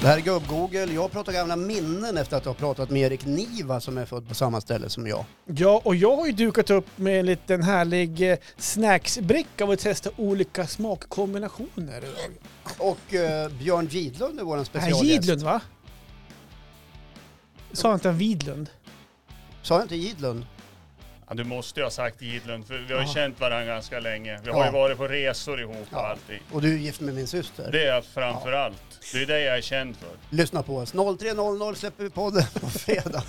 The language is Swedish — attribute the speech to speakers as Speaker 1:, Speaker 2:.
Speaker 1: Det här är Gubb-Google. Jag pratar gamla minnen efter att ha pratat med Erik Niva som är född på samma ställe som jag.
Speaker 2: Ja, och jag har ju dukat upp med en liten härlig eh, snacksbricka av att testa olika smakkombinationer.
Speaker 1: Och eh, Björn Gidlund är vår
Speaker 2: Nej,
Speaker 1: specialgäst.
Speaker 2: Gidlund va? Sa jag inte en Widlund?
Speaker 1: Sa jag inte Gidlund?
Speaker 3: Ja, du måste ju ha sagt Gidlund, för vi har ju
Speaker 2: Ja.
Speaker 3: känt varandra ganska länge. Vi har
Speaker 1: Ja.
Speaker 3: ju varit på resor ihop och
Speaker 1: Ja.
Speaker 3: allting.
Speaker 1: Och du är gift med min syster.
Speaker 3: Det är framför allt. Det är det jag är känd för.
Speaker 1: Lyssna på oss. 03.00 släpper vi podden på fredag.